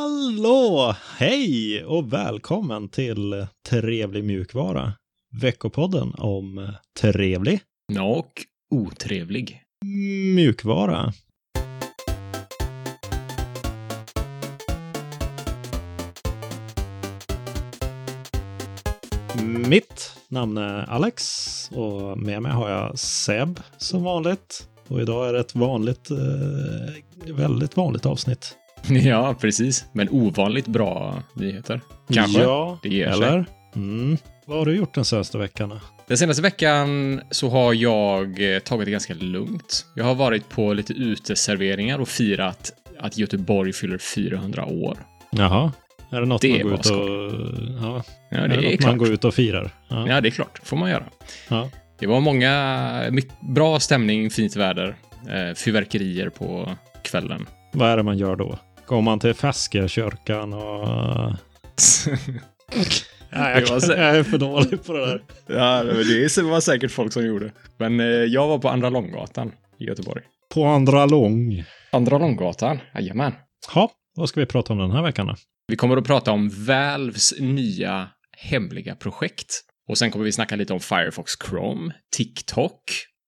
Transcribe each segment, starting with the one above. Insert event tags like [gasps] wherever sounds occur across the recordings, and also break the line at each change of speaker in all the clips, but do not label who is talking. Hallå! Hej och välkommen till Trevlig mjukvara. Veckopodden om trevlig
Och otrevlig. [laughs]
mjukvara. Mitt namn är Alex och med mig har jag Seb som vanligt. Och idag är det ett vanligt, eh, väldigt vanligt avsnitt.
Ja, precis. Men ovanligt bra nyheter. Kanske.
Ja,
Det ger sig.
eller? Mm. Vad har du gjort den senaste veckan? då?
Den senaste veckan så har jag eh, tagit det ganska lugnt. Jag har varit på lite uteserveringar och firat att Göteborg fyller 400 år.
Jaha. Är det något
Det
man går
var
ut och... Ja,
Ja,
är
det
det något
är
man
klart.
går ut och firar? Ja.
Ja, det är klart. får man göra.
Ja.
Det var många mycket bra stämning, fint väder, eh, fyrverkerier på kvällen.
Vad är det man gör då? Går man till Feskekyrkan och... Nej, jag,
Det var
kan, [laughs]
så-
jag är för dålig på det där.
[laughs] ja, det var säkert folk som gjorde. Men eh, jag var på Andra Långgatan i Göteborg.
På andra lång.
Andra Långgatan? Jajamän.
Ja, vad ska vi prata om den här veckan då?
Vi kommer att prata om Valves nya hemliga projekt. Och sen kommer vi snacka lite om Firefox Chrome, TikTok,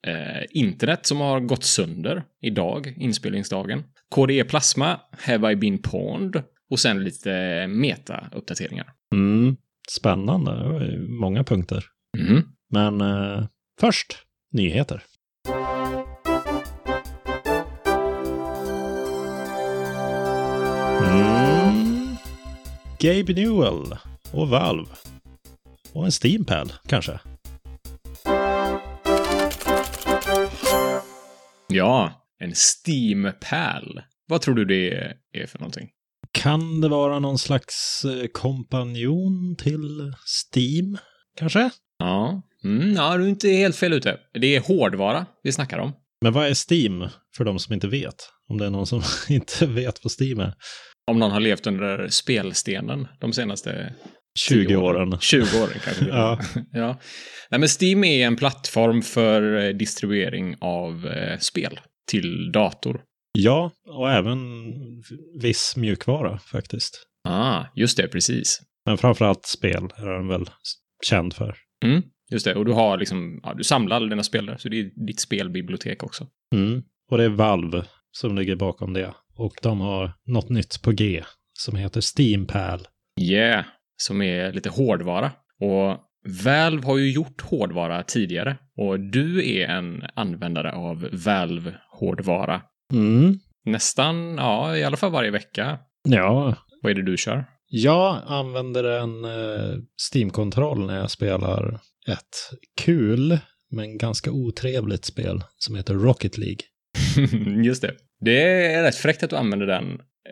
eh, internet som har gått sönder idag, inspelningsdagen, KDE Plasma, Have I Been Pwned och sen lite meta-uppdateringar.
Mm. Spännande. Det var ju många punkter.
Mm.
Men eh, först, nyheter. Mm. Gabe Newell och Valve. Och en Steampad kanske.
Ja, en Steam-pärl. Vad tror du det är för någonting?
Kan det vara någon slags eh, kompanjon till Steam? Kanske?
Ja, mm, ja du är inte helt fel ute. Det är hårdvara vi snackar om.
Men vad är Steam för de som inte vet? Om det är någon som [laughs] inte vet vad Steam är.
Om någon har levt under spelstenen de senaste
20
10
åren.
20 åren kanske.
Ja.
ja. [laughs] ja. Nej, men Steam är en plattform för eh, distribuering av eh, spel till dator.
Ja, och även viss mjukvara faktiskt.
Ah, just det, precis.
Men framförallt spel är den väl s- känd för.
Mm, just det, och du har liksom, ja, du samlar alla dina spel där, så det är ditt spelbibliotek också.
Och det är Valve som ligger bakom det. Och de har något nytt på G som heter Steam Pal.
Yeah, som är lite hårdvara. Och Valve har ju gjort hårdvara tidigare och du är en användare av Valve-hårdvara.
Mm.
Nästan, ja, i alla fall varje vecka.
Ja,
Vad är det du kör? [laughs]
jag använder en eh, Steam-kontroll när jag spelar ett kul men ganska otrevligt spel som heter Rocket League.
Just det. Det är rätt fräckt att du använder den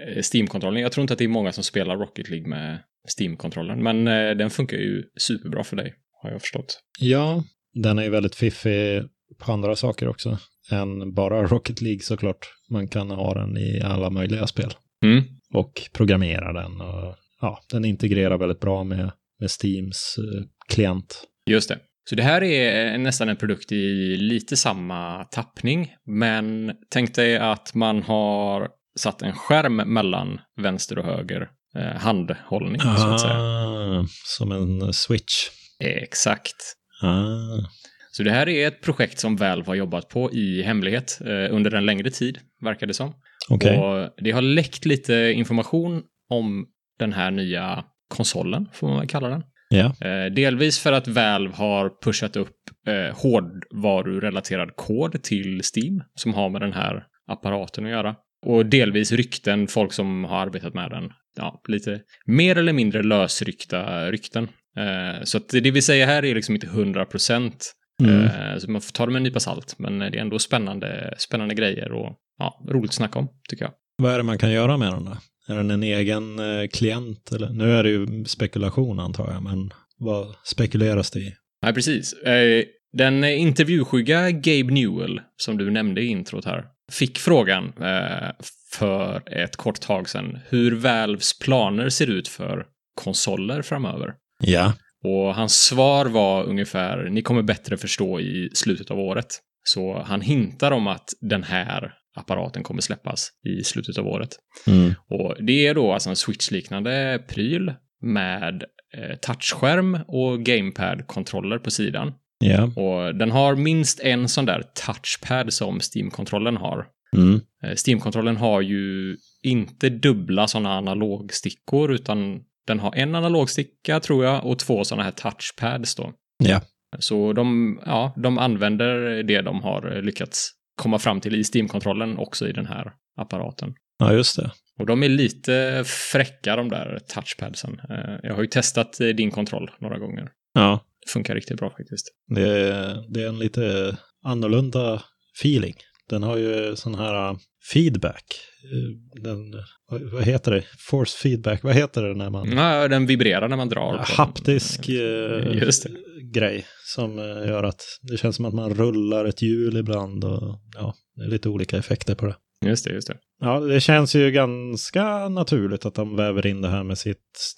eh, Steam-kontrollen. Jag tror inte att det är många som spelar Rocket League med Steam-kontrollen, men eh, den funkar ju superbra för dig, har jag förstått.
Ja, den är ju väldigt fiffig på andra saker också än bara [laughs] Rocket League såklart. Man kan ha den i alla möjliga spel.
Mm.
och programmera den. Och, ja, den integrerar väldigt bra med, med Steams eh, klient.
Just det. Så det här är eh, nästan en produkt i lite samma tappning, men tänk dig att man har satt en skärm mellan vänster och höger eh, handhållning, så att säga.
Ah, som en eh, switch.
Exakt.
Ah.
Så det här är ett projekt som Valve har jobbat på i hemlighet eh, under en längre tid, verkar det som.
Okej.
Och det har läckt lite information om den här nya konsolen, får man väl kalla den.
Ja.
Eh, Delvis för att Valve har pushat upp eh, hårdvarurelaterad kod till Steam som har med den här apparaten att göra. Och delvis rykten, folk som har arbetat med den. Ja, lite mer eller mindre lösryckta rykten. Eh, Så att det vi säger här är liksom inte 100 procent.
Mm.
Eh, Så man får ta det med en nypa salt. Men det är ändå spännande, spännande grejer och ja, roligt att snacka om, tycker jag.
Vad är det man kan göra med den då? Är den en egen eh, klient? Eller? Nu är det ju spekulation antar jag, men vad spekuleras det i?
Nej, precis. Eh, Den intervjuskygga Gabe Newell, som du nämnde i introt här, fick frågan eh, för ett kort tag sedan hur Valves planer ser ut för konsoler framöver.
Ja.
Och hans svar var ungefär, ni kommer bättre förstå i slutet av året. Så han hintar om att den här apparaten kommer släppas i slutet av året.
Mm.
Och det är då alltså en Switch-liknande pryl med eh, touchskärm och gamepad-kontroller på sidan.
Ja.
Och den har minst en sån där touchpad som Steam-kontrollen har.
Mm.
Eh, Steam-kontrollen har ju inte dubbla sådana analogstickor utan den har en analogsticka tror jag och två sådana här touchpads då.
Ja.
Så de, ja, de använder det de har eh, lyckats komma fram till i Steam-kontrollen också i den här apparaten.
ja, just det.
Och de är lite fräcka de där touchpadsen. Eh, Jag har ju testat eh, din kontroll några gånger.
Ja,
Det funkar riktigt bra faktiskt.
det
Mm.
är, det är en lite annorlunda feeling. Den har ju sån här uh, feedback. Eh, Den, vad vad heter det? Force feedback. Vad heter det när man...
Ja, den vibrerar när man drar. på den.
Haptisk eh,
Mm. Just det.
grej som eh, gör att det känns som att man rullar ett hjul ibland och ja, det är lite olika effekter på det.
Just det, just det.
Ja, det känns ju ganska naturligt att de väver in det här med sitt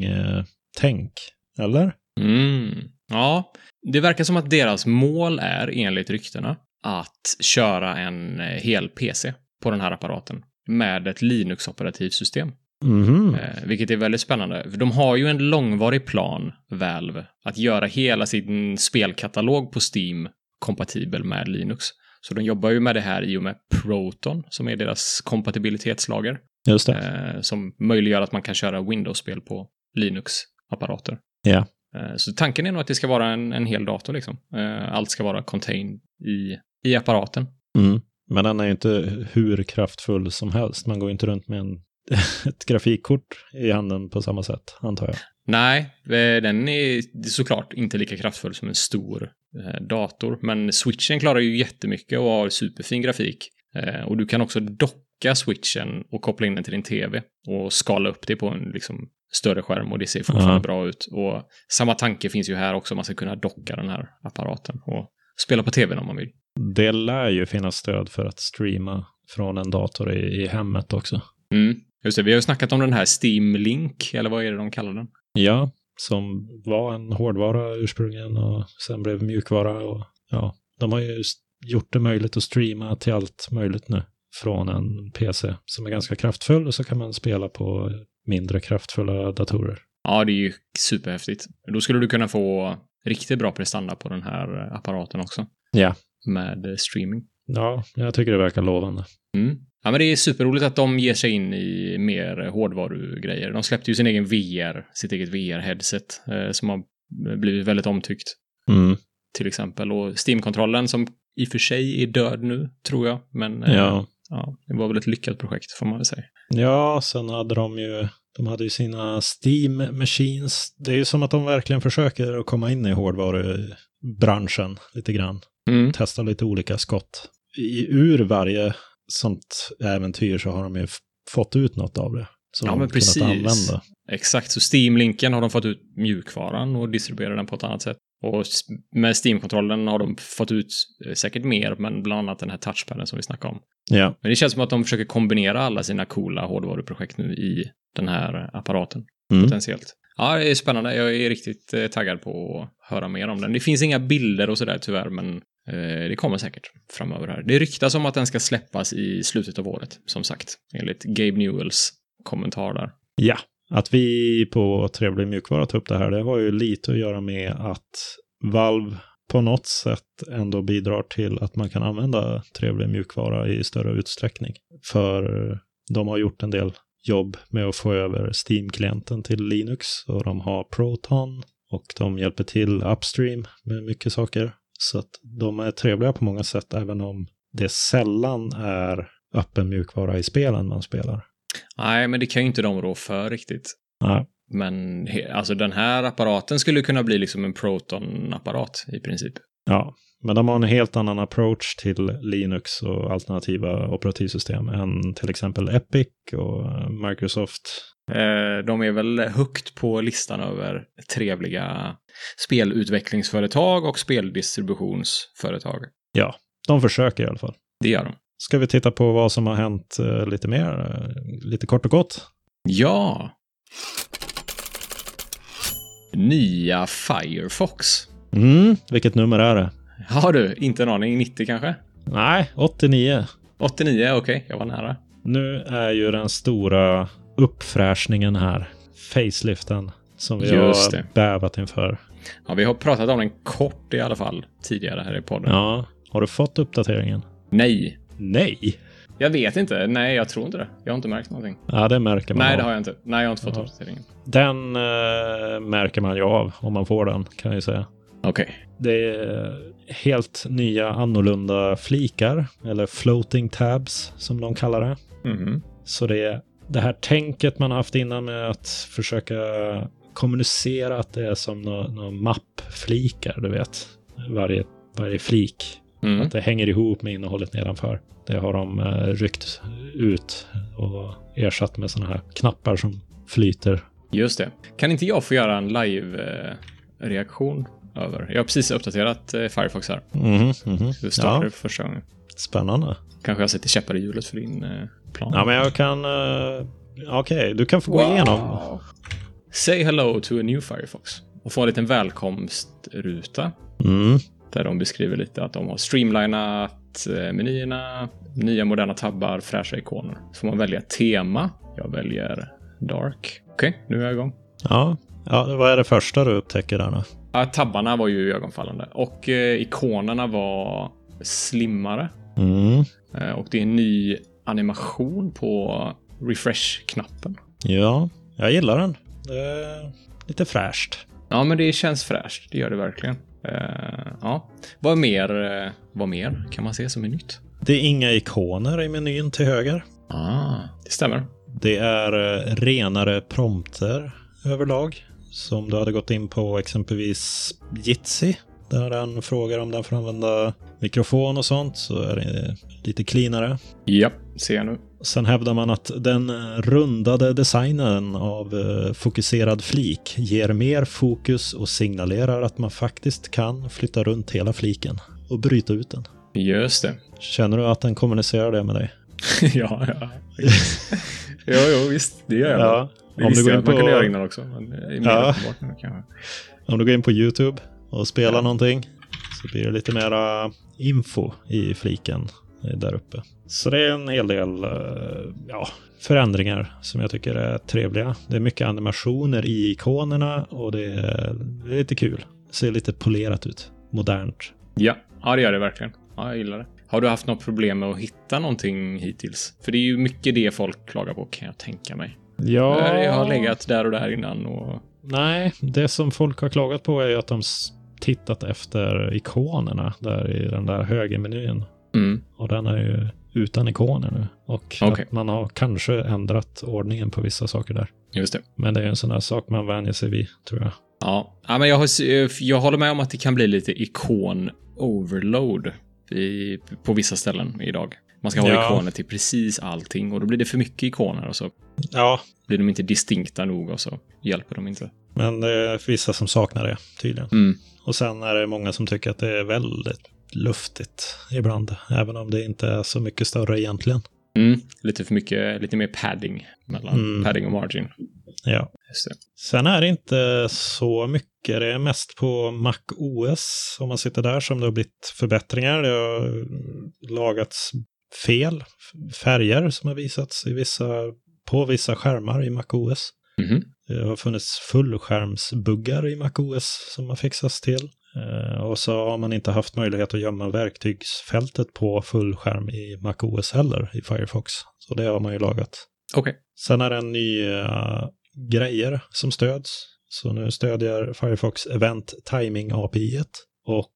streaming-tänk, eller?
Mm. Ja, det verkar som att deras mål är, enligt ryktena, att köra en eh, hel PC på den här apparaten med ett Linux-operativsystem.
Mhm.
Eh, vilket är väldigt spännande. För de har ju en långvarig plan, Valve, att göra hela sin spelkatalog på Steam kompatibel med Linux. Så de jobbar ju med det här i och med Proton, som är deras kompatibilitetslager,
Just det.
eh, som möjliggör att man kan köra Windows-spel på Linux-apparater.
Ja.
Eh, så tanken är nog att det ska vara en, en hel dator, liksom. Eh, allt ska vara contained i, i apparaten.
Mm. Men den är ju inte hur kraftfull som helst. Man går ju inte runt med en, [laughs] ett grafikkort i handen på samma sätt, antar jag.
Nej, eh, den är såklart inte lika kraftfull som en stor eh, dator. Men switchen klarar ju jättemycket och har superfin grafik. Eh, Och du kan också docka switchen och koppla in den till din tv och skala upp det på en liksom, större skärm och det ser fortfarande
Ja.
bra ut. Och samma tanke finns ju här också, man ska kunna docka den här apparaten och spela på tvn om man vill.
Det lär ju finnas stöd för att streama från en dator i, i hemmet också.
Mm. Just det, vi har ju snackat om den här Steam Link, eller vad är det de kallar den?
Ja, som var en hårdvara ursprungligen och sen blev mjukvara. Och, ja, de har ju s- gjort det möjligt att streama till allt möjligt nu från en PC som är ganska kraftfull och så kan man spela på mindre kraftfulla datorer.
Ja, det är ju superhäftigt. Då skulle du kunna få riktigt bra prestanda på den här eh, apparaten också.
Ja.
Med eh, streaming.
Ja, jag tycker det verkar lovande.
Mm. Ja, men det är superroligt att de ger sig in i mer eh, hårdvarugrejer. De släppte ju sin egen VR, sitt eget VR-headset, eh, som har blivit väldigt omtyckt, till exempel. Och Steam-kontrollen, som i och för sig är död nu, tror jag. Men eh,
Ja.
ja, det var väl ett lyckat projekt, får man väl säga.
ja, sen hade de ju de hade ju sina Steam Machines. Det är ju som att de verkligen försöker att komma in i hårdvarubranschen lite grann.
Mm.
testa lite olika skott. I, ur varje sånt äventyr så har de ju f- fått ut något av det. Som
Ja,
de
men
kunnat
precis.
Använda.
Exakt, så Steam-linken har de fått ut mjukvaran och distribuerar den på ett annat sätt. Och s- med Steam-kontrollen har de fått ut eh, säkert mer, men bland annat den här touchpaden som vi snackade om.
Ja.
Men det känns som att de försöker kombinera alla sina coola hårdvaruprojekt nu i den här apparaten,
Mm.
potentiellt. Ja, det är spännande. Jag är riktigt eh, taggad på att höra mer om den. Det finns inga bilder och sådär tyvärr, men eh, det kommer säkert framöver här. Det ryktas om att den ska släppas i slutet av året, som sagt, enligt Gabe Newells kommentar där.
ja. Att vi på Trevlig mjukvara tar upp det här, det har ju lite att göra med att Valve på något sätt ändå bidrar till att man kan använda Trevlig mjukvara i större utsträckning. För de har gjort en del jobb med att få över Steam-klienten till Linux och de har Proton och de hjälper till upstream med mycket saker. Så att de är trevliga på många sätt även om det sällan är öppen mjukvara i spelen man spelar.
Nej, men det kan ju inte de rå för riktigt.
Nej.
Men he- alltså den här apparaten skulle kunna bli liksom en Proton-apparat i princip.
Ja, men de har en helt annan approach till Linux och alternativa operativsystem än till exempel Epic och Microsoft.
Eh, De är väl högt på listan över trevliga spelutvecklingsföretag och speldistributionsföretag.
De försöker i alla fall.
Det gör de.
Ska vi titta på vad som har hänt eh, lite mer, eh, lite kort och gott?
Ja! Nya Firefox.
Mm, vilket nummer är det?
Har du? Inte en aning. 90 kanske?
Nej, 89.
89, okej, jag var nära.
Nu är ju den stora uppfräschningen här. Faceliften som vi
Just
har
det.
bävat inför.
Ja, vi har pratat om den kort i alla fall tidigare här i podden.
Ja, har du fått uppdateringen?
Nej,
Nej!
jag vet inte. Nej, jag tror inte det. Jag har inte märkt någonting.
Ja, det märker man.
Nej,
av.
det har jag inte. Nej, jag har inte fått
Ja.
uppdateringen.
Den eh, märker man ju av om man får den, kan jag ju säga.
Okej.
Det är helt nya annorlunda flikar, eller floating tabs som de kallar det.
Mhm.
Så det, är det här tänket man haft innan med att försöka kommunicera att det är som några nå mappflikar, du vet. Varje, varje flik.
Mm.
Det hänger ihop med innehållet nedanför. Det har de eh, ryckt ut och ersatt med sådana här knappar som flyter.
Just det. Kan inte jag få göra en live-reaktion över? Jag har precis uppdaterat eh, Firefox här.
Mhm,
Du startade
Ja,
det för första gången.
spännande.
Kanske jag sätter käppar i hjulet för din eh, plan.
Ja, men jag kan... eh, Okej, du kan få gå igenom.
Say hello to a new Firefox och få en liten välkomstruta
Mm.
där de beskriver lite att de har streamlinat eh, menyerna, nya moderna tabbar, fräscha ikoner. Så får man välja tema. Jag väljer dark. Okej, nu är jag igång.
Ja. ja, vad är det första du upptäcker där nu?
Ja, tabbarna var ju ögonfallande och eh, ikonerna var slimmare
Mm.
eh, och det är en ny animation på refresh-knappen.
Ja, jag gillar den. Det är lite fräscht.
Ja, men det känns fräscht. Det gör det verkligen. Eh, ja, vad mer? eh, vad mer kan man se som är nytt?
Det är inga ikoner i menyn till höger.
Ah, det stämmer.
Det är eh, renare prompter överlag. Så om du hade gått in på exempelvis Jitsi, där den frågar om den får använda mikrofon och sånt, så är det lite cleanare.
Japp, ser jag nu.
Sen hävdar man att den rundade designen av eh, fokuserad flik ger mer fokus och signalerar att man faktiskt kan flytta runt hela fliken och bryta ut den.
Just det.
Känner du att den kommunicerar det med dig? [laughs]
ja, ja. [laughs] jo, jo, visst. Det gör jag.
Ja,
Det
om
visste
du går in
jag att man
på-
kunde göra innan också. Men eh, i mer
Ja.
uppenbart nu kanske.
Om du går in på YouTube och spelar
Ja.
någonting så blir det lite mera info i fliken eh, där uppe. Så det är en hel del eh, ja, förändringar som jag tycker är trevliga. Det är mycket animationer i ikonerna och det är, det är lite kul. Ser lite polerat ut. Modernt.
Ja. ja, det gör det verkligen. Ja, jag gillar det. Har du haft något problem med att hitta någonting hittills? För det är ju mycket det folk klagar på, kan jag tänka mig.
Ja,
Jag har legat där och där innan och...
Nej, det som folk har klagat på är ju att de s- tittat efter ikonerna där i den där högermenyn.
Mm.
Och den är ju utan ikoner nu. Och
Okej.
att man har kanske ändrat ordningen på vissa saker där.
Just det.
Men det är ju en sån där sak man vänjer sig vid, tror jag.
Ja, ja men jag, har, eh, jag håller med om att det kan bli lite ikon-overload i, på vissa ställen idag. Man ska ha
Ja.
ikoner till precis allting och då blir det för mycket ikoner och så
Ja.
blir de inte distinkta nog och så hjälper de inte.
Men det är vissa som saknar det, tydligen.
Mm.
Och sen är det många som tycker att det är väldigt luftigt ibland. Även om det inte är så mycket större egentligen.
Mm. Lite för mycket, lite mer padding mellan
Mm.
padding och margin.
Ja.
Just det.
Sen är det inte så mycket. Det är mest på Mac OS, om man sitter där, som det har blivit förbättringar. Det har mm, lagats fel f- färger som har visats i vissa, på vissa skärmar i Mac OS.
Mhm.
Det Eh, har funnits fullskärmsbuggar i Mac OS som har fixats till. Eh, Och så har man inte haft möjlighet att gömma verktygsfältet på fullskärm i Mac OS heller, i Firefox. Så det har man ju lagat.
Okej.
Sen är det nya grejer som stöds. Så nu stödjer Firefox Event Timing API och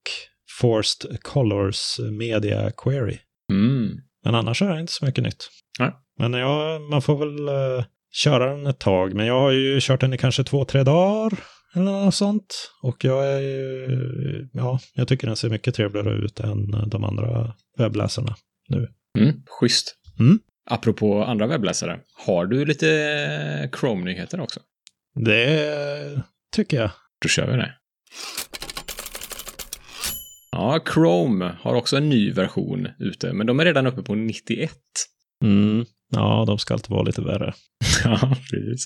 Forced Colors Media Query.
Mm.
Men annars är det inte så mycket nytt.
Nej.
Men ja, man får väl eh, köra den ett tag. Men jag har ju kört den i kanske två, tre dagar eller något sånt. Och jag är ju, ja, jag tycker den ser mycket trevligare ut än eh, de andra webbläsarna.
Mm. Schysst.
Mm.
Apropå andra webbläsare, har du lite eh, Chrome-nyheter också?
Det tycker jag.
Då kör vi det. Ja, Chrome har också en ny version ute, men de är redan uppe på 91.
[laughs] Ja, de ska alltid vara lite värre.
Ja, precis.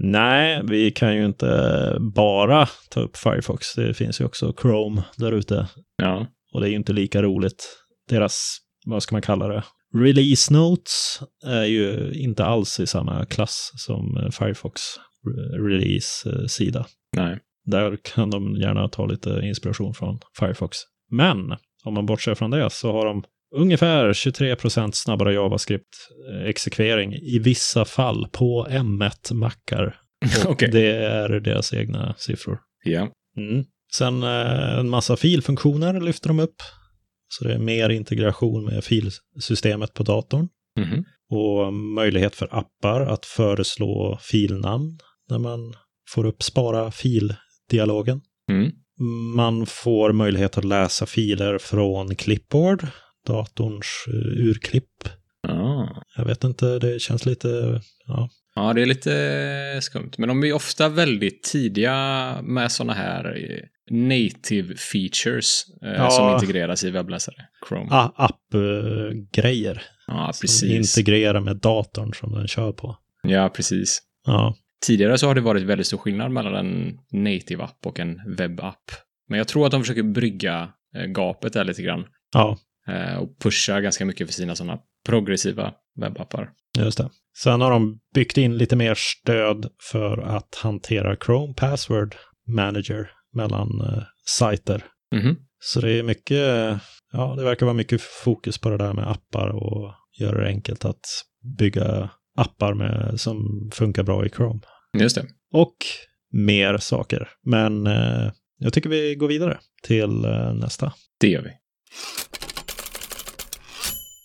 Nej, vi kan ju inte bara ta upp Firefox. Det finns ju också Chrome där ute.
Ja.
Och det är ju inte lika roligt. Deras, vad ska man kalla det? Release Notes är ju inte alls i samma klass som eh, Firefox re- release-sida.
Nej.
Där kan de gärna ta lite inspiration från Firefox. Men om man bortser från det så har de ungefär 23 snabbare JavaScript-exekvering i vissa fall på M1-mackar. Och
[laughs] Okej.
Det är deras egna siffror.
Ja.
Mm. Sen eh, en massa filfunktioner lyfter de upp. Så det är mer integration med filsystemet på datorn.
Mhm.
Och möjlighet för appar att föreslå filnamn när man får upp spara fildialogen.
Mm.
Man får möjlighet att läsa filer från clipboard, datorns eh, urklipp.
Ah.
Jag vet inte, det känns lite... Ja.
Ja, det är lite skumt. Men de är ofta väldigt tidiga med sådana här eh, native features eh,
Ja.
som integreras i webbläsare. Chrome.
Ah, App-grejer.
ja,
Som
precis.
integrerar med datorn som den kör på.
Ja, precis.
Ja.
Tidigare så har det varit väldigt stor skillnad mellan en native app och en webbapp. Men jag tror att de försöker brygga eh, gapet där lite grann
Ja,
eh, och pusha ganska mycket för sina sådana progressiva webbappar.
just det. Sen har de byggt in lite mer stöd för att hantera Chrome Password Manager mellan eh, sajter.
Mhm.
Så det är mycket, ja, det verkar vara mycket fokus på det där med appar och göra det enkelt att bygga appar med, som funkar bra i Chrome.
Just det.
Och mer saker. Men eh, jag tycker vi går vidare till eh, nästa.
Det gör vi.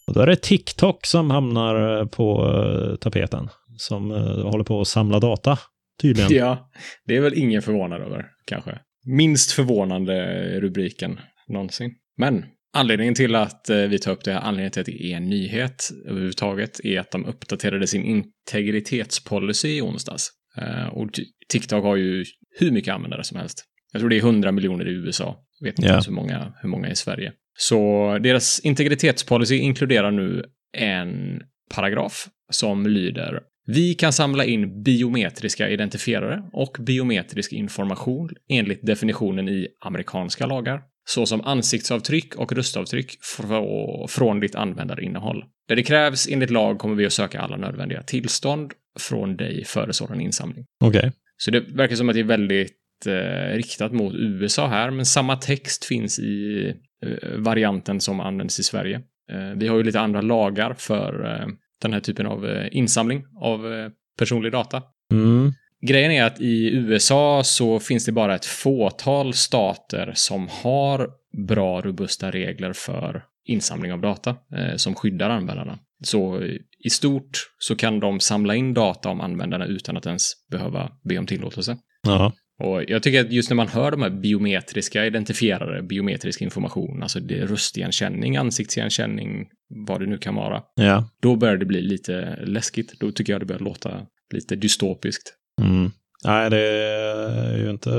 Och då är det TikTok som hamnar eh, på eh, tapeten. Som eh, håller på att samla data, tydligen.
Ja, det är väl ingen förvånad över, kanske. Minst förvånande rubriken någonsin. Men anledningen till att eh, vi tar upp det här, anledningen till att det är en nyhet överhuvudtaget, är att de uppdaterade sin integritetspolicy i onsdags. Eh, Och t- TikTok har ju hur mycket användare som helst. Jag tror det är 100 miljoner i USA. Jag vet inte
Ja.
ens hur många, hur många i Sverige. Så deras integritetspolicy inkluderar nu en paragraf som lyder Vi kan samla in biometriska identifierare och biometrisk information enligt definitionen i amerikanska lagar, såsom ansiktsavtryck och röstavtryck frå- från ditt användarinnehåll. Där det krävs enligt lag kommer vi att söka alla nödvändiga tillstånd från dig före sådan insamling.
Okej.
Så det verkar som att det är väldigt eh, riktat mot USA här, men samma text finns i eh, varianten som används i Sverige. Eh, vi har ju lite andra lagar för eh, den här typen av eh, insamling av eh, personlig data.
Mm.
Grejen är att i USA så finns det bara ett fåtal stater som har bra robusta regler för insamling av data eh, som skyddar användarna. Så eh, i stort så kan de samla in data om användarna utan att ens behöva be om tillåtelse.
Ja.
Och jag tycker att just när man hör de här biometriska identifierare, biometrisk information, alltså det är röstigenkänning, ansiktsigenkänning, vad det nu kan vara,
Ja.
då börjar det bli lite läskigt. Då tycker jag det börjar låta lite dystopiskt.
Mm. Nej, det är ju inte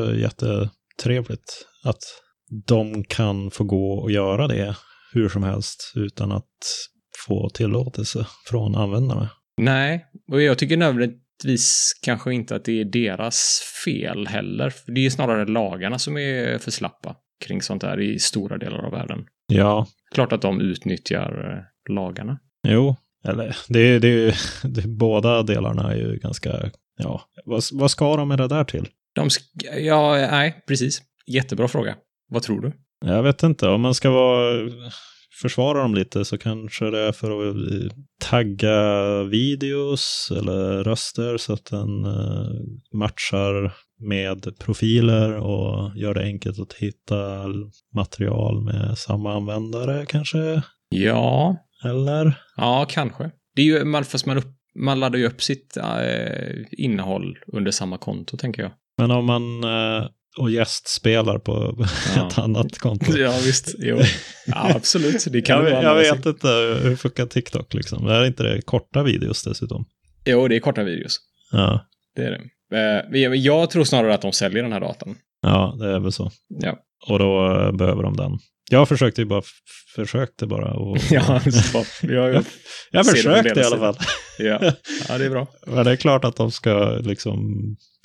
jättetrevligt att de kan få gå och göra det hur som helst utan att få tillåtelse från användarna.
Nej, och jag tycker nödvändigtvis kanske inte att det är deras fel heller. För Det är ju snarare lagarna som är för slappa kring sånt där i stora delar av världen.
Ja,
Klart att de utnyttjar eh, lagarna.
jo. Eller, det, är- det, är- [laughs] det, är- båda delarna är ju ganska, ja, vad, vad ska de med det där till?
De sk- ja, nej, precis. Jättebra fråga. Vad tror du?
Jag vet inte, om man ska vara, försvara dem lite så kanske det är för att eh, tagga videos eller röster så att den eh, matchar med profiler och gör det enkelt att hitta material med samma användare kanske,
Ja,
eller?
Ja, kanske. Det är ju, man- fast man, upp, man laddar ju upp sitt eh, innehåll under samma konto,
[laughs]
tänker jag.
Men om man eh, och gästspelar på [laughs]
Ja.
ett annat konto.
Ja, visst. Jo. Ja, absolut. Det kan
Jag,
ju
vet-
vara
jag
annorlunda.
vet inte hur funkar TikTok liksom. Det är inte det korta videos dessutom.
Jo, det är korta videos.
Ja,
Det är det. Eh, men jag- men jag tror snarare att de säljer den här datan.
ja det är väl så. [laughs]
Ja,
Och då eh, behöver de den. Jag försökte ju bara, f- försökte bara. Och,
[laughs] ja, så, ja, ja.
jag
ser det på
försökte i
deras
alla fall.
ja. ja det är bra.
Men det är klart att de ska liksom,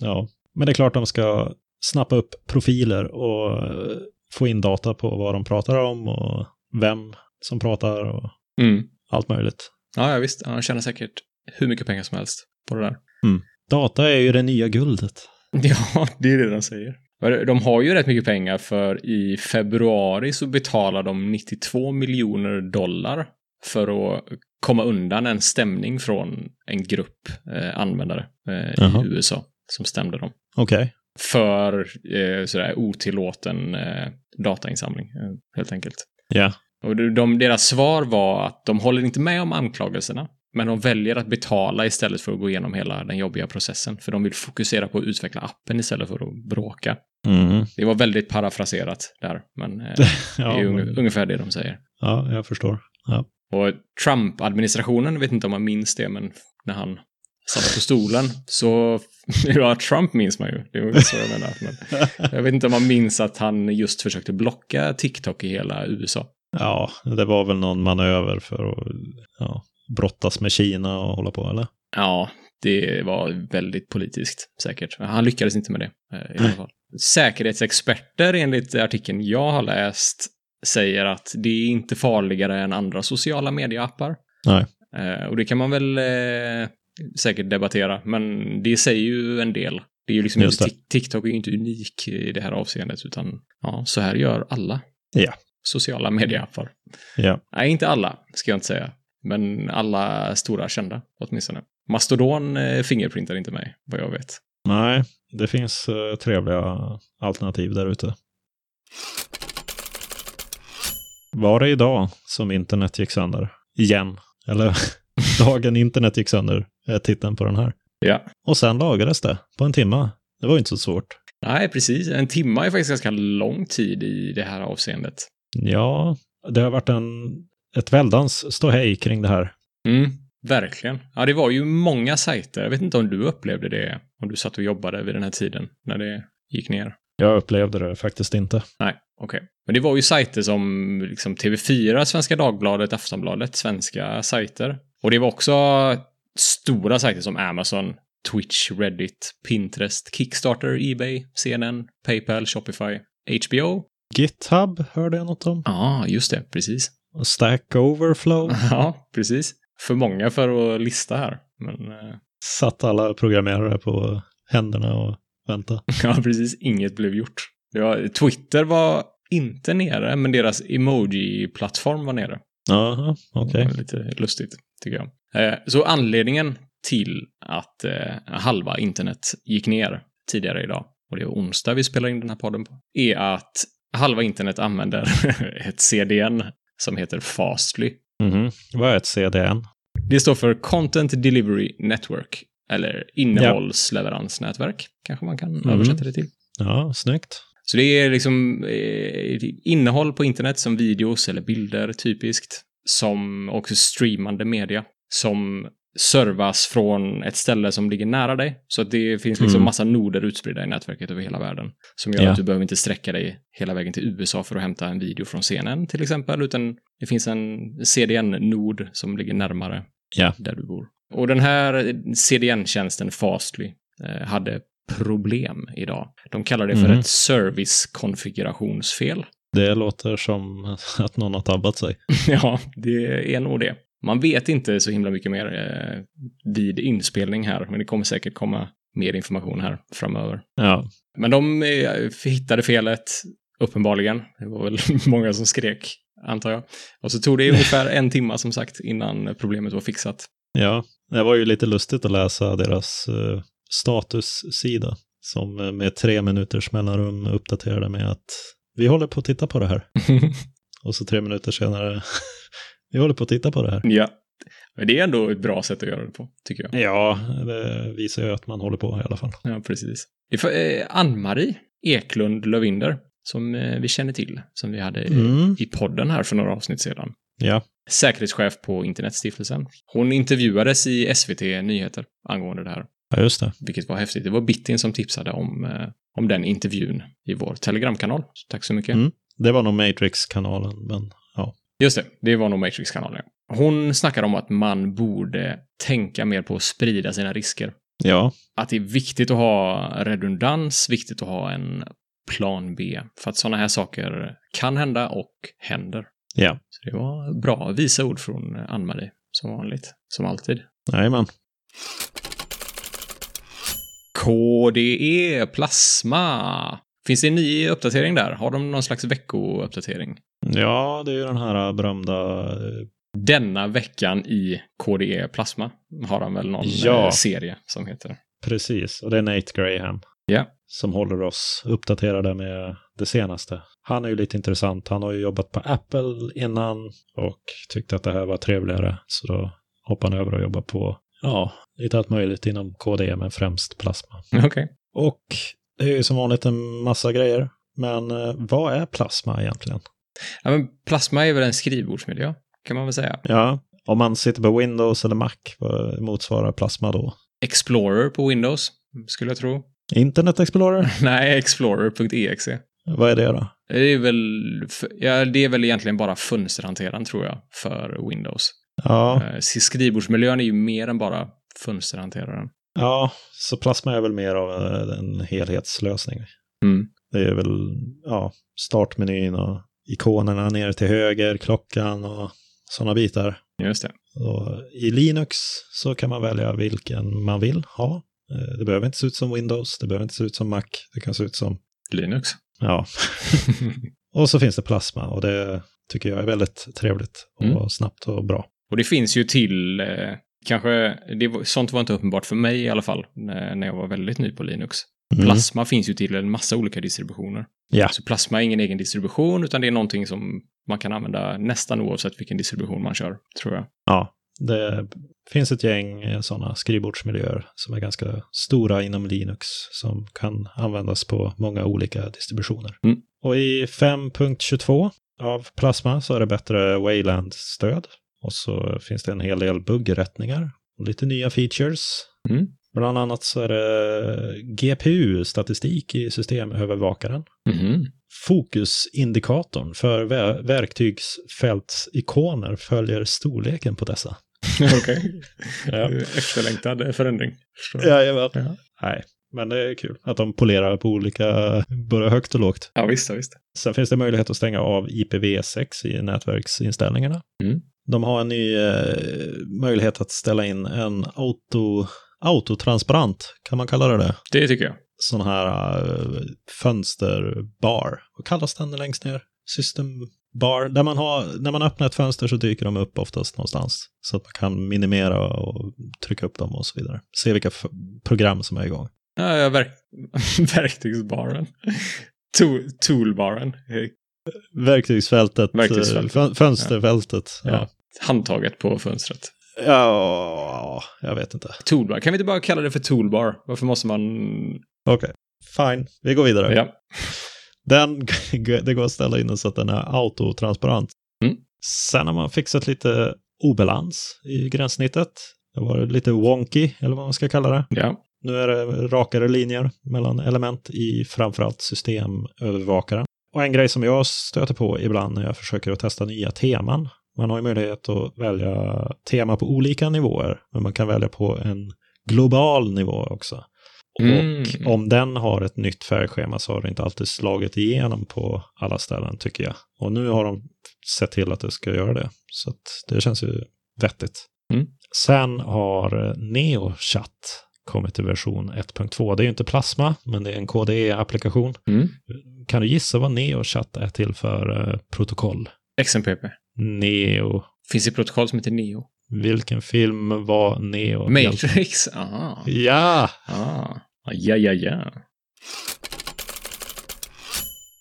ja. Men det är klart de ska snappa upp profiler och eh, få in data på vad de pratar om och vem som pratar och
Mm.
allt möjligt.
Ja, ja visst. Ja, De tjänar säkert hur mycket pengar som helst på det där.
Data är ju det nya guldet.
[laughs] Ja, det är det de säger. De har ju rätt mycket pengar för i februari så betalar de 92 miljoner dollar för att komma undan en stämning från en grupp eh, användare eh,
Jaha.
i USA som stämde dem
Okej.
för eh, sådär otillåten eh, datainsamling eh, helt enkelt.
Ja.
Och de, de, deras svar var att de håller inte med om anklagelserna, men de väljer att betala istället för att gå igenom hela den jobbiga processen, för de vill fokusera på att utveckla appen istället för att bråka.
Mhm.
Det var väldigt parafraserat där,
[laughs]
men eh, Mm. det är
Ja,
ju unge-
men,
ungefär det de säger.
ja, jag
[laughs]
förstår.
Och Trump-administrationen, vet inte om man minns det, men när han satt på stolen så... [laughs] ja, Trump minns man ju. Det var ju så jag menar. Men jag vet inte om man minns att han just försökte blocka TikTok i hela USA.
Ja, det var väl någon manöver för att ja, brottas med Kina och hålla på, eller?
Ja, det var väldigt politiskt säkert. Han lyckades inte med det eh, i alla
Nej.
fall. Säkerhetsexperter enligt artikeln jag har läst säger att det är inte farligare än andra sociala medieappar.
Nej.
Eh, Och det kan man väl eh, säkert debattera, men det säger ju en del. Det är ju liksom
Just
inte, Tik- TikTok är ju inte unik i det här avseendet, utan ja, så här gör alla
Ja.
sociala medieappar.
Ja.
Nej, inte alla, ska jag inte säga. Men alla stora kända, åtminstone. Mastodon eh, fingerprintar inte mig, vad jag vet.
Nej, det finns eh, trevliga alternativ där ute. Var det idag som internet gick sönder? Igen. Eller [laughs] dagen internet gick sönder är titeln på den här.
Ja.
Och sen lagades det på en timme. Det var ju inte så svårt.
Nej, precis. En timme är faktiskt ganska lång tid i det här avseendet.
Ja, det har varit en, ett väldans ståhej kring det här.
Mm, verkligen. Ja, det var ju många sajter. Jag vet inte om du upplevde det, om du satt och jobbade vid den här tiden, när det gick ner.
Jag upplevde det faktiskt inte.
Nej, okej. Men det var ju sajter som liksom TV4, Svenska Dagbladet, Aftonbladet, svenska sajter. Och det var också stora sajter som Amazon, Twitch, Reddit, Pinterest, Kickstarter, Ebay, CNN, Paypal, Shopify, HBO.
GitHub hörde jag något om.
Ja, just det, precis. [laughs]
Och Stack Overflow.
Ja, precis. För många för att lista här. Men eh, [laughs]
Satt alla programmerare på händerna och väntade.
ja, precis, inget blev gjort. Ja, Twitter var inte nere, men deras emoji-plattform var nere.
Jaha, okej.
Det var Lite lustigt, tycker jag. Eh, Så anledningen till att eh, halva internet gick ner tidigare idag, och det är onsdag vi spelar in den här podden på, är att halva internet använder [laughs] ett CDN som heter Fastly.
Mhm. Vad är ett CDN?
Det står för Content Delivery Network, eller innehållsleveransnätverk, kanske man kan
Mm.
översätta det till.
Ja, snyggt.
Så det är liksom eh, innehåll på internet som videos eller bilder typiskt, som också streamande media, som servas från ett ställe som ligger nära dig. Så att det finns liksom
Mm.
massa noder utspridda i nätverket över hela världen. Som gör
Ja.
att du behöver inte sträcka dig hela vägen till USA för att hämta en video från CNN till exempel, utan det finns en CDN-nod som ligger närmare
Ja.
där du bor. Och den här CDN-tjänsten Fastly eh, hade problem idag. De kallar det för
Mhm.
ett servicekonfigurationsfel. [laughs]
Det låter som [laughs] att någon har tabbat sig.
ja, det är nog det. Man vet inte så himla mycket mer eh, vid inspelning här, men det kommer säkert komma mer information här framöver.
Ja.
Men de eh, hittade felet, uppenbarligen. Det var väl [laughs] många som skrek, antar jag. Och så tog det ungefär en timme, som sagt, innan problemet var fixat.
ja. Det var ju lite lustigt att läsa deras eh, statussida som eh, med tre minuters mellanrum uppdaterade med att vi håller på att titta på det här. Och så tre minuter senare, [laughs] vi håller på att titta på det här.
ja. Men det är ändå ett bra sätt att göra det på, tycker jag.
Ja, det visar ju att man håller på i alla fall.
Ja, precis. Det är för- eh, Ann-Marie Eklund Lövinder, som eh, vi känner till, som vi hade i-
Mm.
i podden här för några avsnitt sedan.
Ja.
Säkerhetschef på Internetstiftelsen. Hon intervjuades i SVT Nyheter angående det här,
ja, just det.
vilket var häftigt. Det var Bittin som tipsade om, eh, om den intervjun i vår telegramkanal. Så tack så mycket.
Mm. Det var nog Matrix-kanalen, men
Just det, det var nog Matrix-kanalen. ja. Hon snackar om att man borde tänka mer på att sprida sina risker.
ja.
att det är viktigt att ha redundans, viktigt att ha en plan B. För att sådana här saker kan hända och händer.
Ja.
Så det var bra visa ord från Ann-Marie, som vanligt. Som alltid.
Jajamän.
KDE E, Plasma. Finns det en ny uppdatering där? Har de någon slags veckouppdatering?
Ja, det är ju den här äh, berömda... eh,
Denna veckan i KDE Plasma har han väl någon
Ja.
eh, serie som heter. [laughs]
Precis, och det är Nate Graham.
Ja.
Som håller oss uppdaterade med det senaste. Han är ju lite intressant. Han har ju jobbat på Apple innan och tyckte att det här var trevligare. Så då hoppade han över och jobbade på, ja, lite allt möjligt inom KDE, men främst plasma.
Okej.
Och det är ju som vanligt en massa grejer. Men eh, vad är plasma egentligen?
Ja, men plasma är väl en skrivbordsmiljö, kan man väl säga.
Ja, om man sitter på Windows eller Mac, vad motsvarar plasma då?
Explorer på Windows, skulle jag tro.
Internet Explorer?
[laughs] Nej, Explorer.exe.
vad är det då?
Det är väl, f- ja, det är väl egentligen bara fönsterhanteraren, tror jag, för Windows.
Ja,
Eh, Skrivbordsmiljön är ju mer än bara fönsterhanteraren.
Ja, så plasma är väl mer av eh, en helhetslösning.
Mm.
Det är väl ja, startmenyn och ikonerna ner till höger, klockan och sådana bitar.
Just det.
Och I Linux så kan man välja vilken man vill ha. Eh, Det behöver inte se ut som Windows, det behöver inte se ut som Mac, det kan se ut som...
Linux. [laughs]
Ja. Och så finns det plasma och det tycker jag är väldigt trevligt och
Mm.
snabbt och bra.
Och det finns ju till, eh, kanske, det, var- sånt var inte uppenbart för mig i alla fall, eh, när när jag var väldigt ny på Linux.
Mm.
Plasma finns ju till en massa olika distributioner.
Ja.
Så plasma är ingen egen distribution, utan det är någonting som man kan använda nästan oavsett vilken distribution man kör, tror jag.
Ja, det finns ett gäng sådana skrivbordsmiljöer som är ganska stora inom Linux som kan användas på många olika distributioner.
Mm.
Och i 5.22 av Plasma så är det bättre Wayland-stöd. Och så finns det en hel del buggrättningar och lite nya features.
Mm.
Bland annat så är det GPU-statistik i systemövervakaren. Fokusindikatorn för vä- verktygsfältsikoner följer storleken på dessa.
[laughs] Okej.
Ja.
Efterlängtad förändring. Förstår jag.
Jajamän.
Ja.
Nej, men det är kul att de polerar på olika, både högt och lågt.
ja, visst, ja, visst.
Sen finns det möjlighet att stänga av IPv6 i nätverksinställningarna.
Mm.
De har en ny eh, möjlighet att ställa in en auto, autotransparent, kan man kalla det det?
Det tycker jag.
Sån här eh, fönsterbar. Vad kallas den längst ner? Systembar. Där man har, när man öppnar ett fönster så dyker de upp oftast någonstans. Så att man kan minimera och trycka upp dem och så vidare. Se vilka f- program som är igång.
Ja, ja, verk [laughs] verktygsbaren. To toolbaren. Eh,
Verktygsfältet,
Verktygsfältet.
eh, fön- fönsterfältet. Ja.
Ja. Handtaget på fönstret.
Ja. jag vet inte.
Toolbar. Kan vi inte bara kalla det för toolbar? Varför måste man...
Okej, fine. Vi går vidare.
Ja.
Den, [laughs] det går att ställa in den så att den är autotransparent.
Mm.
Sen har man fixat lite obalans i gränssnittet. Det var lite wonky, eller vad man ska kalla det.
ja.
Nu är det rakare linjer mellan element i framförallt systemövervakaren. Och en grej som jag stöter på ibland när jag försöker att testa nya teman. Man har ju möjlighet att välja tema på olika nivåer, men man kan välja på en global nivå också. Och
Mm.
om den har ett nytt färgschema så har det inte alltid slagit igenom på alla ställen tycker jag. Och nu har de sett till att det ska göra det. Så att det känns ju vettigt.
Mm.
Sen har eh, NeoChat kommit till version 1.2. Det är ju inte plasma, men det är en KDE-applikation.
Mm.
Kan du gissa vad NeoChat är till för eh, protokoll?
XMPP.
Neo.
Finns det protokoll som heter Neo?
Vilken film var Neo?
Matrix? Aha.
Ja!
Ah. Ja, ja, ja.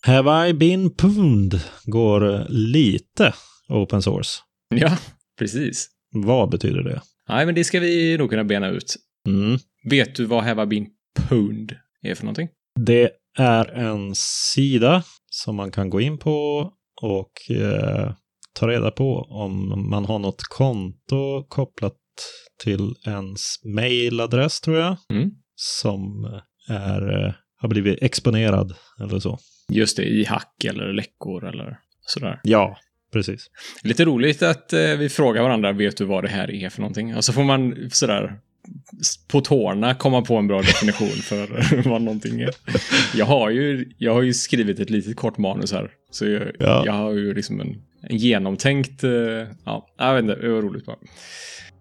Have I been pwned går eh, lite open source.
Ja, precis.
Vad betyder det?
Nej, men det ska vi nog kunna bena ut.
Mm.
Vet du vad Have I been pwned är för någonting?
Det är en sida som man kan gå in på och eh, ta reda på om man har något konto kopplat till ens mailadress tror jag.
Mm.
Som är, eh, har blivit exponerad eller så.
Just det, i hack eller läckor eller sådär.
Ja, precis.
Lite roligt att eh, vi frågar varandra, vet du vad det här är för någonting? Och så får man sådär s- på tårna komma på en bra definition för [laughs] vad någonting är. Jag har ju, jag har ju skrivit ett litet kort manus här, så jag,
Ja.
jag har ju liksom en en genomtänkt... eh, Ja, jag vet inte, det var roligt bara.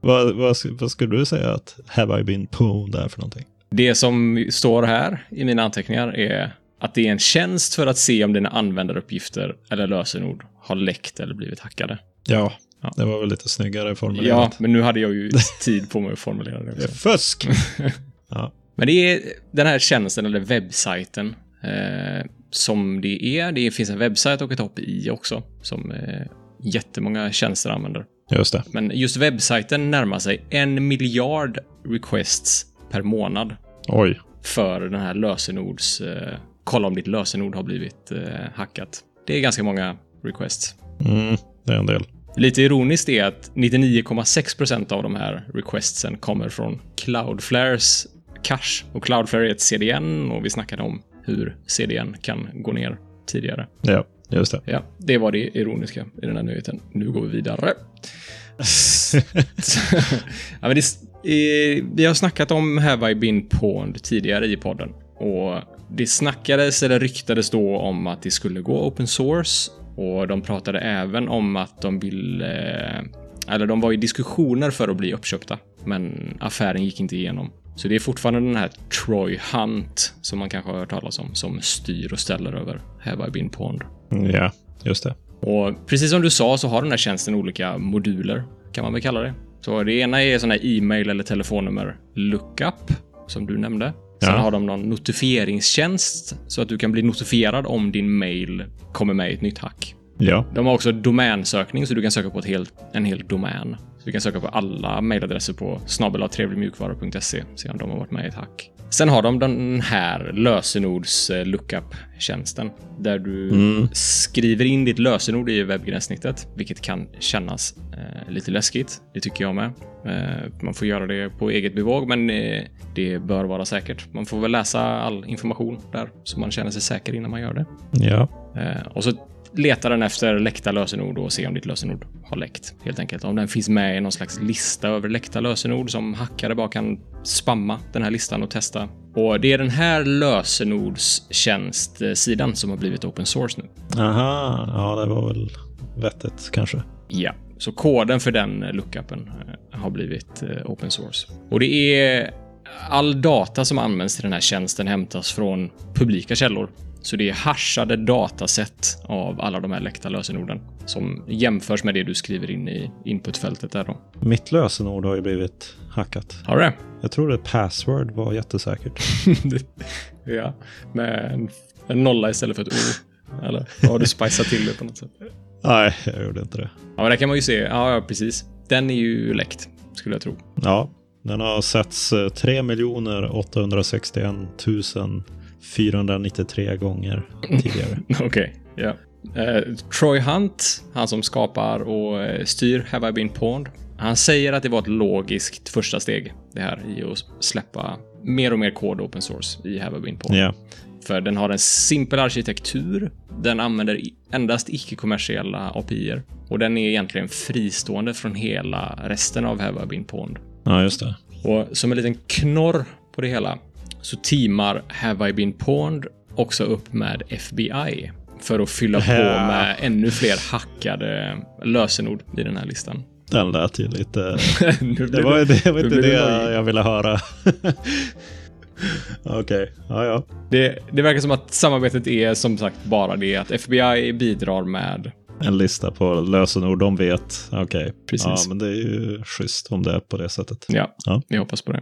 Vad, vad, sk- vad skulle du säga att have I been pwned är för någonting?
Det som står här i mina anteckningar är att det är en tjänst för att se om dina användaruppgifter eller lösenord har läckt eller blivit hackade.
Ja,
Ja.
det var väl lite snyggare
Ja,
formulerat.
men nu hade jag [laughs] ju tid på mig att formulera det
Det är
också.
fusk!
Men det är den här tjänsten, eller webbsajten, eh, som det är. Det finns en webbsajt och ett API också, som eh, jättemånga tjänster använder.
Just det.
Men just webbsajten närmar sig en miljard requests per månad
Oj.
för den här lösenords... Eh, kolla om ditt lösenord har blivit eh, hackat. Det är ganska många requests.
Mm, det är en del.
Lite ironiskt är att 99,6% av de här requestsen kommer från Cloudflares cache. Och Cloudflare är ett CDN och vi snackade om hur CDN kan gå ner tidigare.
Ja, just [laughs] det.
Ja, det var det ironiska i den här nyheten. Nu går vi vidare. [laughs] ja, men det, eh, vi har snackat om Have I Been Pwned tidigare i podden. Och det snackades, eller ryktades då, om att det skulle gå open source. Och de pratade även om att de ville... eh, Eller de var i diskussioner för att bli uppköpta. Men affären gick inte igenom. Så det är fortfarande den här Troy Hunt, som man kanske har hört talas om, som styr och ställer över Have I Been Pwned.
ja, just det.
Och precis som du sa så har den här tjänsten olika moduler, kan man väl kalla det. Så det ena är sån här e-mail eller telefonnummer lookup, som du nämnde. Sen
Ja.
har de någon notifieringstjänst så att du kan bli notifierad om din mail kommer med i ett nytt hack.
Ja,
De har också domänsökning så du kan söka på ett helt, en hel domän. Så du kan söka på alla mejladresser på snabelatrevligmjukvara.se se om de har varit med i ett hack. Sen har de den här lösenords lookup tjänsten där du
Mm.
skriver in ditt lösenord i webbgränssnittet, vilket kan kännas eh, lite läskigt. Det tycker jag med. Eh, man får göra det på eget bevåg, men eh, det bör vara säkert. Man får väl läsa all information där så man känner sig säker innan man gör det.
ja,
Eh, och så letar den efter läckta lösenord och ser om ditt lösenord har läckt. Helt enkelt. Om den finns med i någon slags lista över läckta lösenord som hackare bara kan spamma den här listan och testa. Och det är den här lösenordstjänstsidan som har blivit open source nu.
aha, ja, det var väl vettigt kanske.
Ja, så koden för den lookupen eh, har blivit eh, open source. Och det är all data som används till den här tjänsten hämtas från publika källor. Så det är hashade dataset av alla de här läckta lösenorden som jämförs med det du skriver in i inputfältet där då.
Mitt lösenord har ju blivit hackat.
Har du det?
Jag trodde password var jättesäkert.
[laughs] ja, med en- en nolla istället för ett O. Eller har du spicat till det på något sätt?
Nej, jag gjorde inte det.
Ja, men där kan man ju se. Ja, ja, precis. Den är ju läckt, skulle jag tro.
Ja, den har setts eh, 3 861 493 gånger tidigare.
Okej, ja. Eh, Troy Hunt, han som skapar och eh, styr Have I Been Pwned, han säger att det var ett logiskt första steg det här i att släppa mer och mer kod open source i Have I Been Pwned.
Ja,
För den har en simpel arkitektur, den använder i- endast icke-kommersiella API-er och den är egentligen fristående från hela resten av Have I Been Pwned.
ja just det.
Och som en liten knorr på det hela så teamar Have I Been Pwned också upp med FBI för att fylla på
Ja.
med ännu fler hackade lösenord i den
[laughs]
här listan.
Den lät ju lite...
Nu blir
Det var, det var
nu
inte
blir
det
nojig.
jag ville höra. [laughs] Okej, ja ja.
det, det verkar som att samarbetet är som sagt bara det att FBI bidrar med
En lista på lösenord de vet. Okej,
Precis.
ja men det är ju schysst om det är på det sättet.
Ja,
Ja.
jag hoppas på det.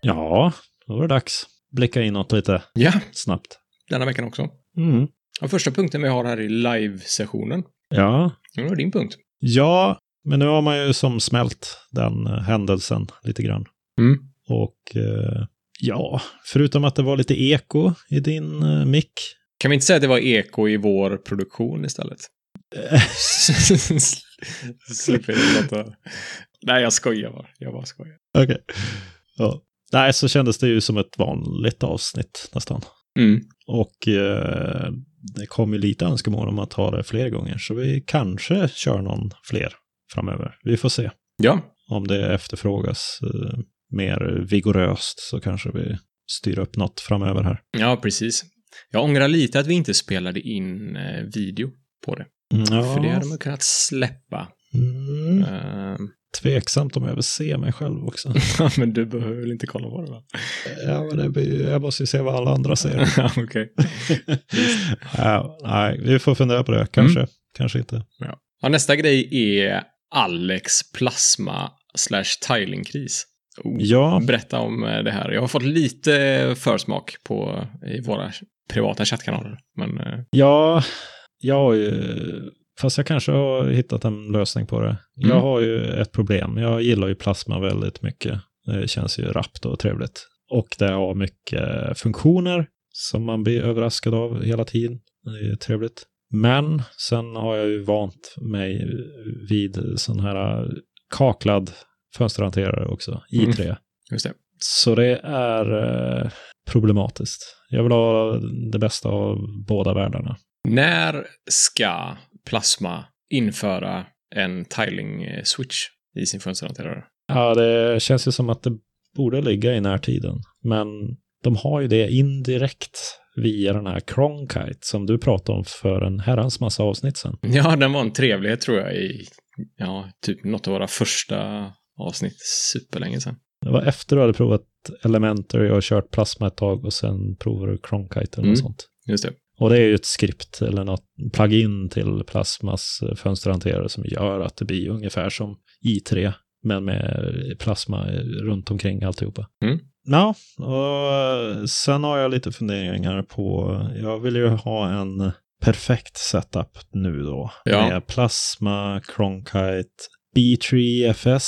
Ja, då var det dags. Blicka inåt lite
Ja,
snabbt.
denna veckan också.
Mm.
Den första punkten vi har här i live-sessionen.
Ja,
Det var din punkt.
Ja, men nu har man ju som smält den eh, händelsen lite grann.
Mm.
Och eh, ja, förutom att det var lite eko i din eh, mick.
Kan vi inte säga att det var eko i vår produktion [laughs] istället? Slipper det låta... Nej, jag skojar bara. Jag bara skojar.
Okej. Ja. Nej, så kändes det ju som ett vanligt avsnitt nästan.
Mm.
Och eh, det kom ju lite önskemål om att ha det fler gånger, så vi kanske kör någon fler framöver. Vi får se.
Ja.
Om det efterfrågas eh, mer vigoröst så kanske vi styr upp något framöver här.
ja, precis. Jag ångrar lite att vi inte spelade in eh, video på det. För det
Mm, Ja,
hade man kunnat släppa.
mm,
Eh,
tveksamt om jag vill se mig själv också.
[laughs] Ja, men du behöver väl inte kolla på det va?
[laughs] ja, men det blir, jag måste ju se vad alla andra säger.
Ja, Okej.
[laughs] ja, nej, vi får fundera på det, kanske. Kanske inte.
Ja, nästa grej är Alex plasma slash tilingkris. Oh.
Ja,
Berätta om eh, det här. Jag har fått lite eh, försmak på i våra privata chattkanaler. Men eh,
Ja, jag har ju, fast jag kanske har hittat en lösning på det. Jag
Mm.
har ju ett problem. Jag gillar ju plasma väldigt mycket. Det känns ju rappt och trevligt. Och det har mycket funktioner som man blir överraskad av hela tiden. Det är trevligt. Men sen har jag ju vant mig vid sån här kaklad fönsterhanterare också,
Mm.
i3.
just det.
Så det är eh, problematiskt. Jag vill ha det bästa av båda världarna.
När ska plasma införa en tiling-switch i sin fönsterhanterare?
Ja, det känns ju som att det borde ligga i närtiden. Men de har ju det indirekt via den här Cronkite som du pratade om för en herrans massa avsnitt sedan.
Ja, den var en trevlighet tror jag i ja, typ något av våra första avsnitt. Superlänge sedan.
Det var efter du hade provat Elementary och kört Plasma ett tag och sen provade du Cronkite eller
Mm.
något sånt.
Just det.
Och det är ju ett skript eller något plugin till Plasmas eh, fönsterhanterare som gör att det blir ungefär som i3, men med plasma eh, runt omkring alltihopa.
Mm.
Ja, och eh, sen har jag lite funderingar på, jag vill ju ha en perfekt setup nu då.
Ja.
Med plasma, Cronkite, E B3FS,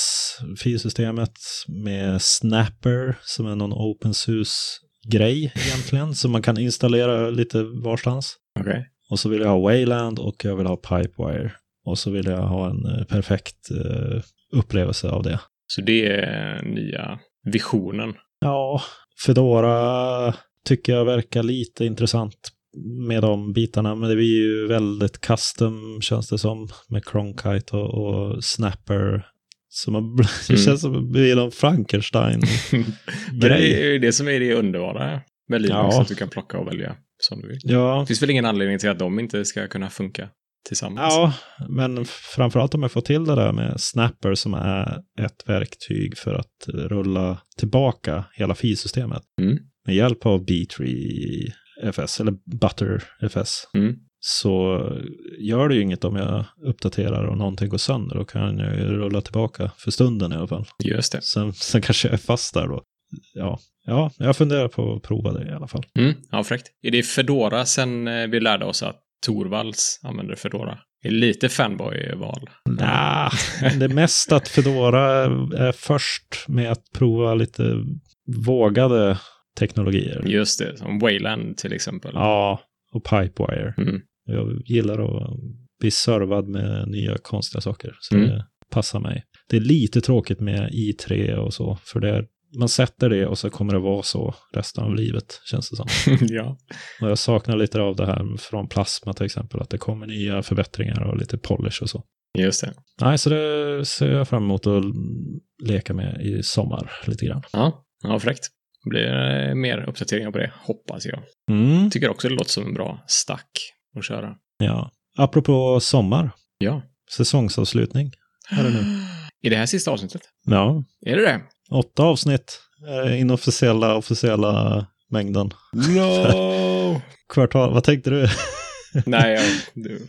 filsystemet med Snapper som är någon open source-grej egentligen som man kan installera lite varstans.
Okej.
Och så vill jag ha Wayland och jag vill ha Pipewire. Och så vill jag ha en eh, perfekt eh, upplevelse av det.
Så det är nya visionen.
Ja, Fedora tycker jag verkar lite intressant med de bitarna, men det blir ju väldigt custom känns det som med Cronkite och, och Snapper. Så man, [laughs] det
Mm.
känns som att det blir någon Frankenstein-grej.
[laughs] Men det är ju det som är det underbara med Linux,
Ja.
att du kan plocka och välja som du vill.
Ja,
Det finns väl ingen anledning till att de inte ska kunna funka tillsammans?
Ja, Liksom. men framförallt om jag får till det där med Snapper som är ett verktyg för att rulla tillbaka hela filsystemet
Mm.
med hjälp av B3FS eller ButterFS.
Mm.
Så gör det ju inget om jag uppdaterar och någonting går sönder. Då kan jag ju rulla tillbaka för stunden i alla fall.
Just det.
Sen, sen kanske jag är fast där då. Ja, ja, jag funderar på att prova det i alla fall.
Mm. Ja, fräckt. Är det Fedora sen eh, vi lärde oss att Torvalds använder Fedora? Det är lite fanboy-val.
Nah, [laughs] det är mest att Fedora är först med att prova lite vågade teknologier.
[laughs] Just det, som Wayland till exempel.
Ja, och Pipewire. [laughs]
Mm.
Jag gillar att bli servad med nya konstiga saker, så
Mm.
det passar mig. Det är lite tråkigt med i3 och så, för det är, man sätter det och så kommer det vara så resten av livet, känns det som.
ja.
Och jag saknar lite av det här från Plasma till exempel, att det kommer nya förbättringar och lite polish och så.
Just det.
Nej, så det ser jag fram emot att leka med i sommar lite grann.
Ja, ja fräckt. Det blir eh, mer uppdateringar på det, hoppas jag.
Mm.
Tycker också det låter som en bra stack att köra.
Ja. Apropå sommar,
Ja.
säsongsavslutning är det
[gasps]
nu.
Är det här sista avsnittet?
[gasps] Ja,
Är
[laughs]
det det?
åtta avsnitt är det inofficiella officiella mängden.
No!
Kvartal, vad tänkte du? [laughs]
Nej, jag, du,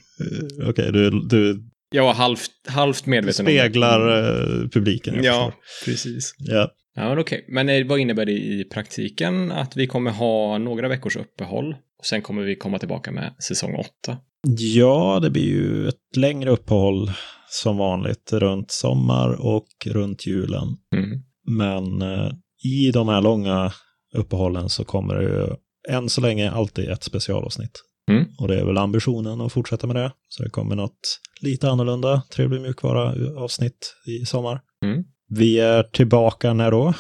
Okej, du, du
jag var halvt, halvt medveten om det.
speglar eh, publiken. jag
Ja,
förstår.
precis.
ja.
Ja, men okej. Men eh, vad innebär det i praktiken? Att vi kommer ha några veckors uppehåll och sen kommer vi komma tillbaka med säsong åtta.
ja, det blir ju ett längre uppehåll som vanligt runt sommar och runt julen.
Mm.
Men eh, i de här långa uppehållen så kommer det ju än så länge alltid ett specialavsnitt.
Mm.
Och det är väl ambitionen att fortsätta med det. Så det kommer något lite annorlunda, trevlig mjukvara-avsnitt i sommar.
Mm.
Vi är tillbaka när då?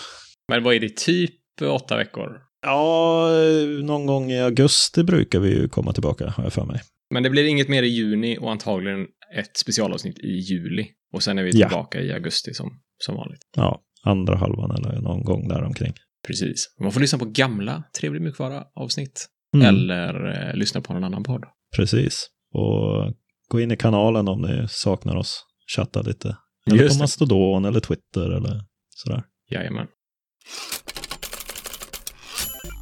Men vad är det, typ åtta veckor?
Ja, eh, någon gång i augusti brukar vi ju komma tillbaka, har jag för mig.
Men det blir inget mer i juni och antagligen ett specialavsnitt i juli. Och sen är vi
Ja.
tillbaka i augusti som, som vanligt.
Ja, andra halvan eller någon gång där omkring.
Precis. Man får lyssna på gamla Trevlig mjukvara-avsnitt.
Mm,
eller eh, lyssna på någon annan podd.
Precis. Och gå in i kanalen om ni saknar oss. Chatta lite. Eller på
Just det.
Mastodon eller Twitter eller sådär.
Jajamän.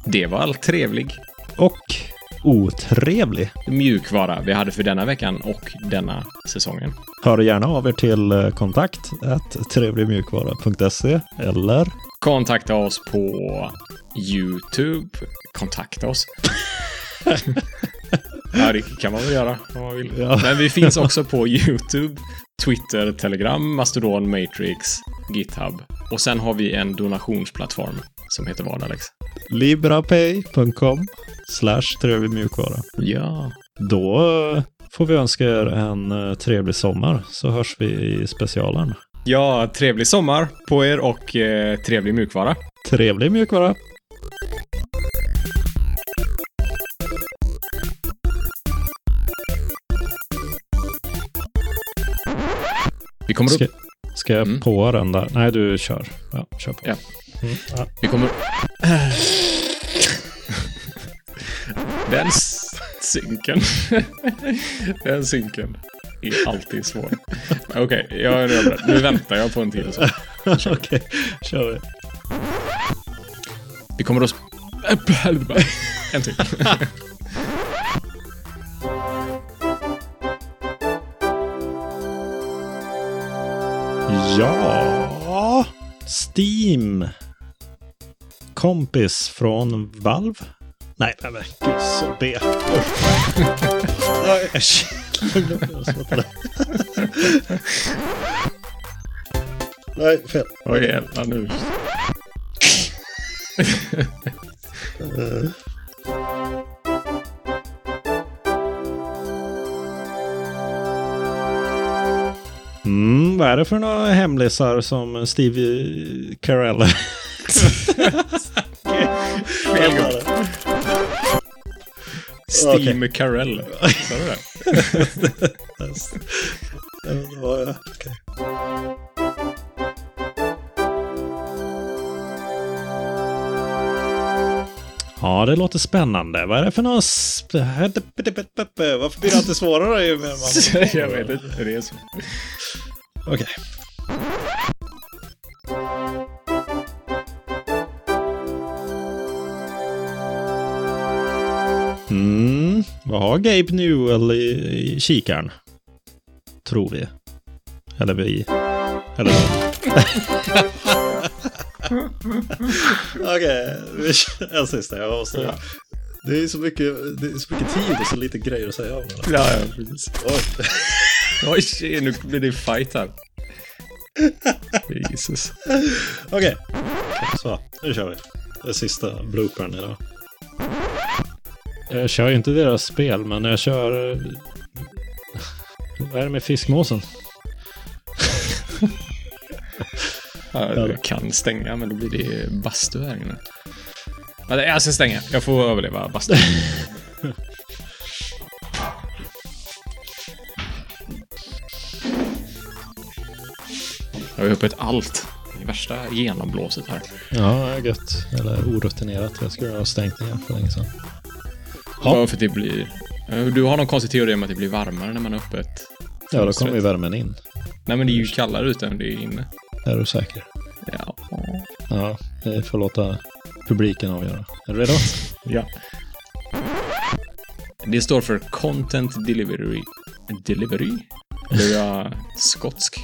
Det var allt trevlig
Och otrevlig.
mjukvara vi hade för denna veckan och denna säsongen.
Hör gärna av er till eh, kontakt at trevligmjukvara.se eller
Kontakta oss på YouTube. Kontakta oss. ja, det kan man väl göra om man vill.
Ja.
Men vi finns också på YouTube, Twitter, Telegram, Mastodon, Matrix, GitHub. Och sen har vi en donationsplattform som heter vad, Alex?
librapay.com slash trevligmjukvara.
Ja.
Då eh, får vi önska er en eh, trevlig sommar så hörs vi i specialen.
Ja, trevlig sommar på er och eh, trevlig mjukvara.
Trevlig mjukvara!
Vi kommer,
Ska,
upp,
ska jag
Mm.
på den där? Nej, du kör. Ja, kör på.
Ja.
Mm, ja.
vi [laughs] kommer... Den s- synken. [laughs] Den synken är alltid [laughs] svår. Okej, jag är redo. Nu väntar jag på en till. Så.
[laughs] Okej, kör vi.
Vi [laughs] kommer att... sp- En till.
Ja, Steam. Kompis från Valve. Nej, nej, nej. Gud så B. Nej, äsch. Jag glömde att släppa det. Nej, fel.
Oj, jävlar nu.
Mm, vad är det för några hemlisar som Steve Carell? [laughs]
Fel gång. Steam Carell. Sa du det?
Jag vet inte vad jag- okej. Ja, det låter spännande. Vad är det för någon... sp- Varför blir det alltid svårare ju mer man...
[laughs] Jag vet inte. Det är så.
Okej. Mm, vad har Gabe Newell i, i kikaren? Tror vi. Eller vi. Eller de. Okej, vi kör en sista. Jag måste... Det, är så mycket, det är så mycket tid och så lite grejer att säga om det.
Ja, ja, precis.
Oj.
Oj, shit, nu blir det fight här. Jesus.
Okej. Så, nu kör vi. Det är sista bloopern idag. Jag kör ju inte deras spel, men jag kör... eh, [laughs] Vad är det med fiskmåsen?
Ja, jag kan stänga, men då blir det bastu här inne. Vänta, Jag ska stänga. Jag får överleva bastu. Jag är uppe i ett allt. Det är värsta genomblåset här.
Ja, det är gött. Eller orutinerat. Jag skulle ha stängt ner för länge sedan. Ja.
Ja. För att det blir... Du har någon konstig teori om att det blir varmare när man är öppet.
Ja, då kommer ju värmen in.
Nej, men det är ju kallare ute än det är inne.
Är du säker?
Ja.
Ja, vi får låta publiken avgöra. Är du redo?
Ja. Det står för Content Delivery. Delivery? Blev jag skotsk?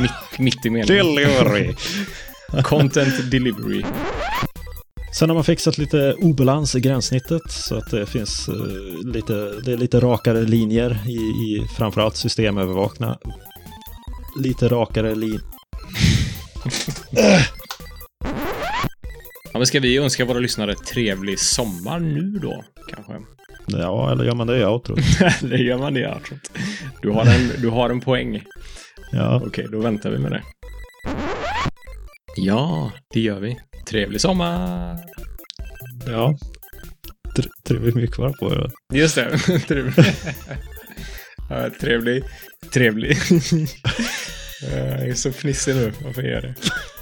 Mitt, mitt i meningen.
Delivery!
Content Delivery.
Sen har man fixat lite obalans i gränssnittet så att det finns eh, lite, det är lite rakare linjer i, i framförallt systemövervakna. Lite rakare linjer.
Ja, men ska vi önska våra lyssnare trevlig sommar nu då? Kanske.
Ja, eller gör man det i [laughs] outro?
Eller gör man [laughs] det? Jag tror inte. Du har en, du har en poäng.
Ja,
Okej, då väntar vi med det. Ja, det gör vi. Trevlig sommar!
ja. Tr- Trevligt mycket kvar på det.
Just det. [laughs] Trevlig. ja, [laughs] Eh, trevlig. Trevlig. Ja, Jag är så fnissig nu. Varför är jag det?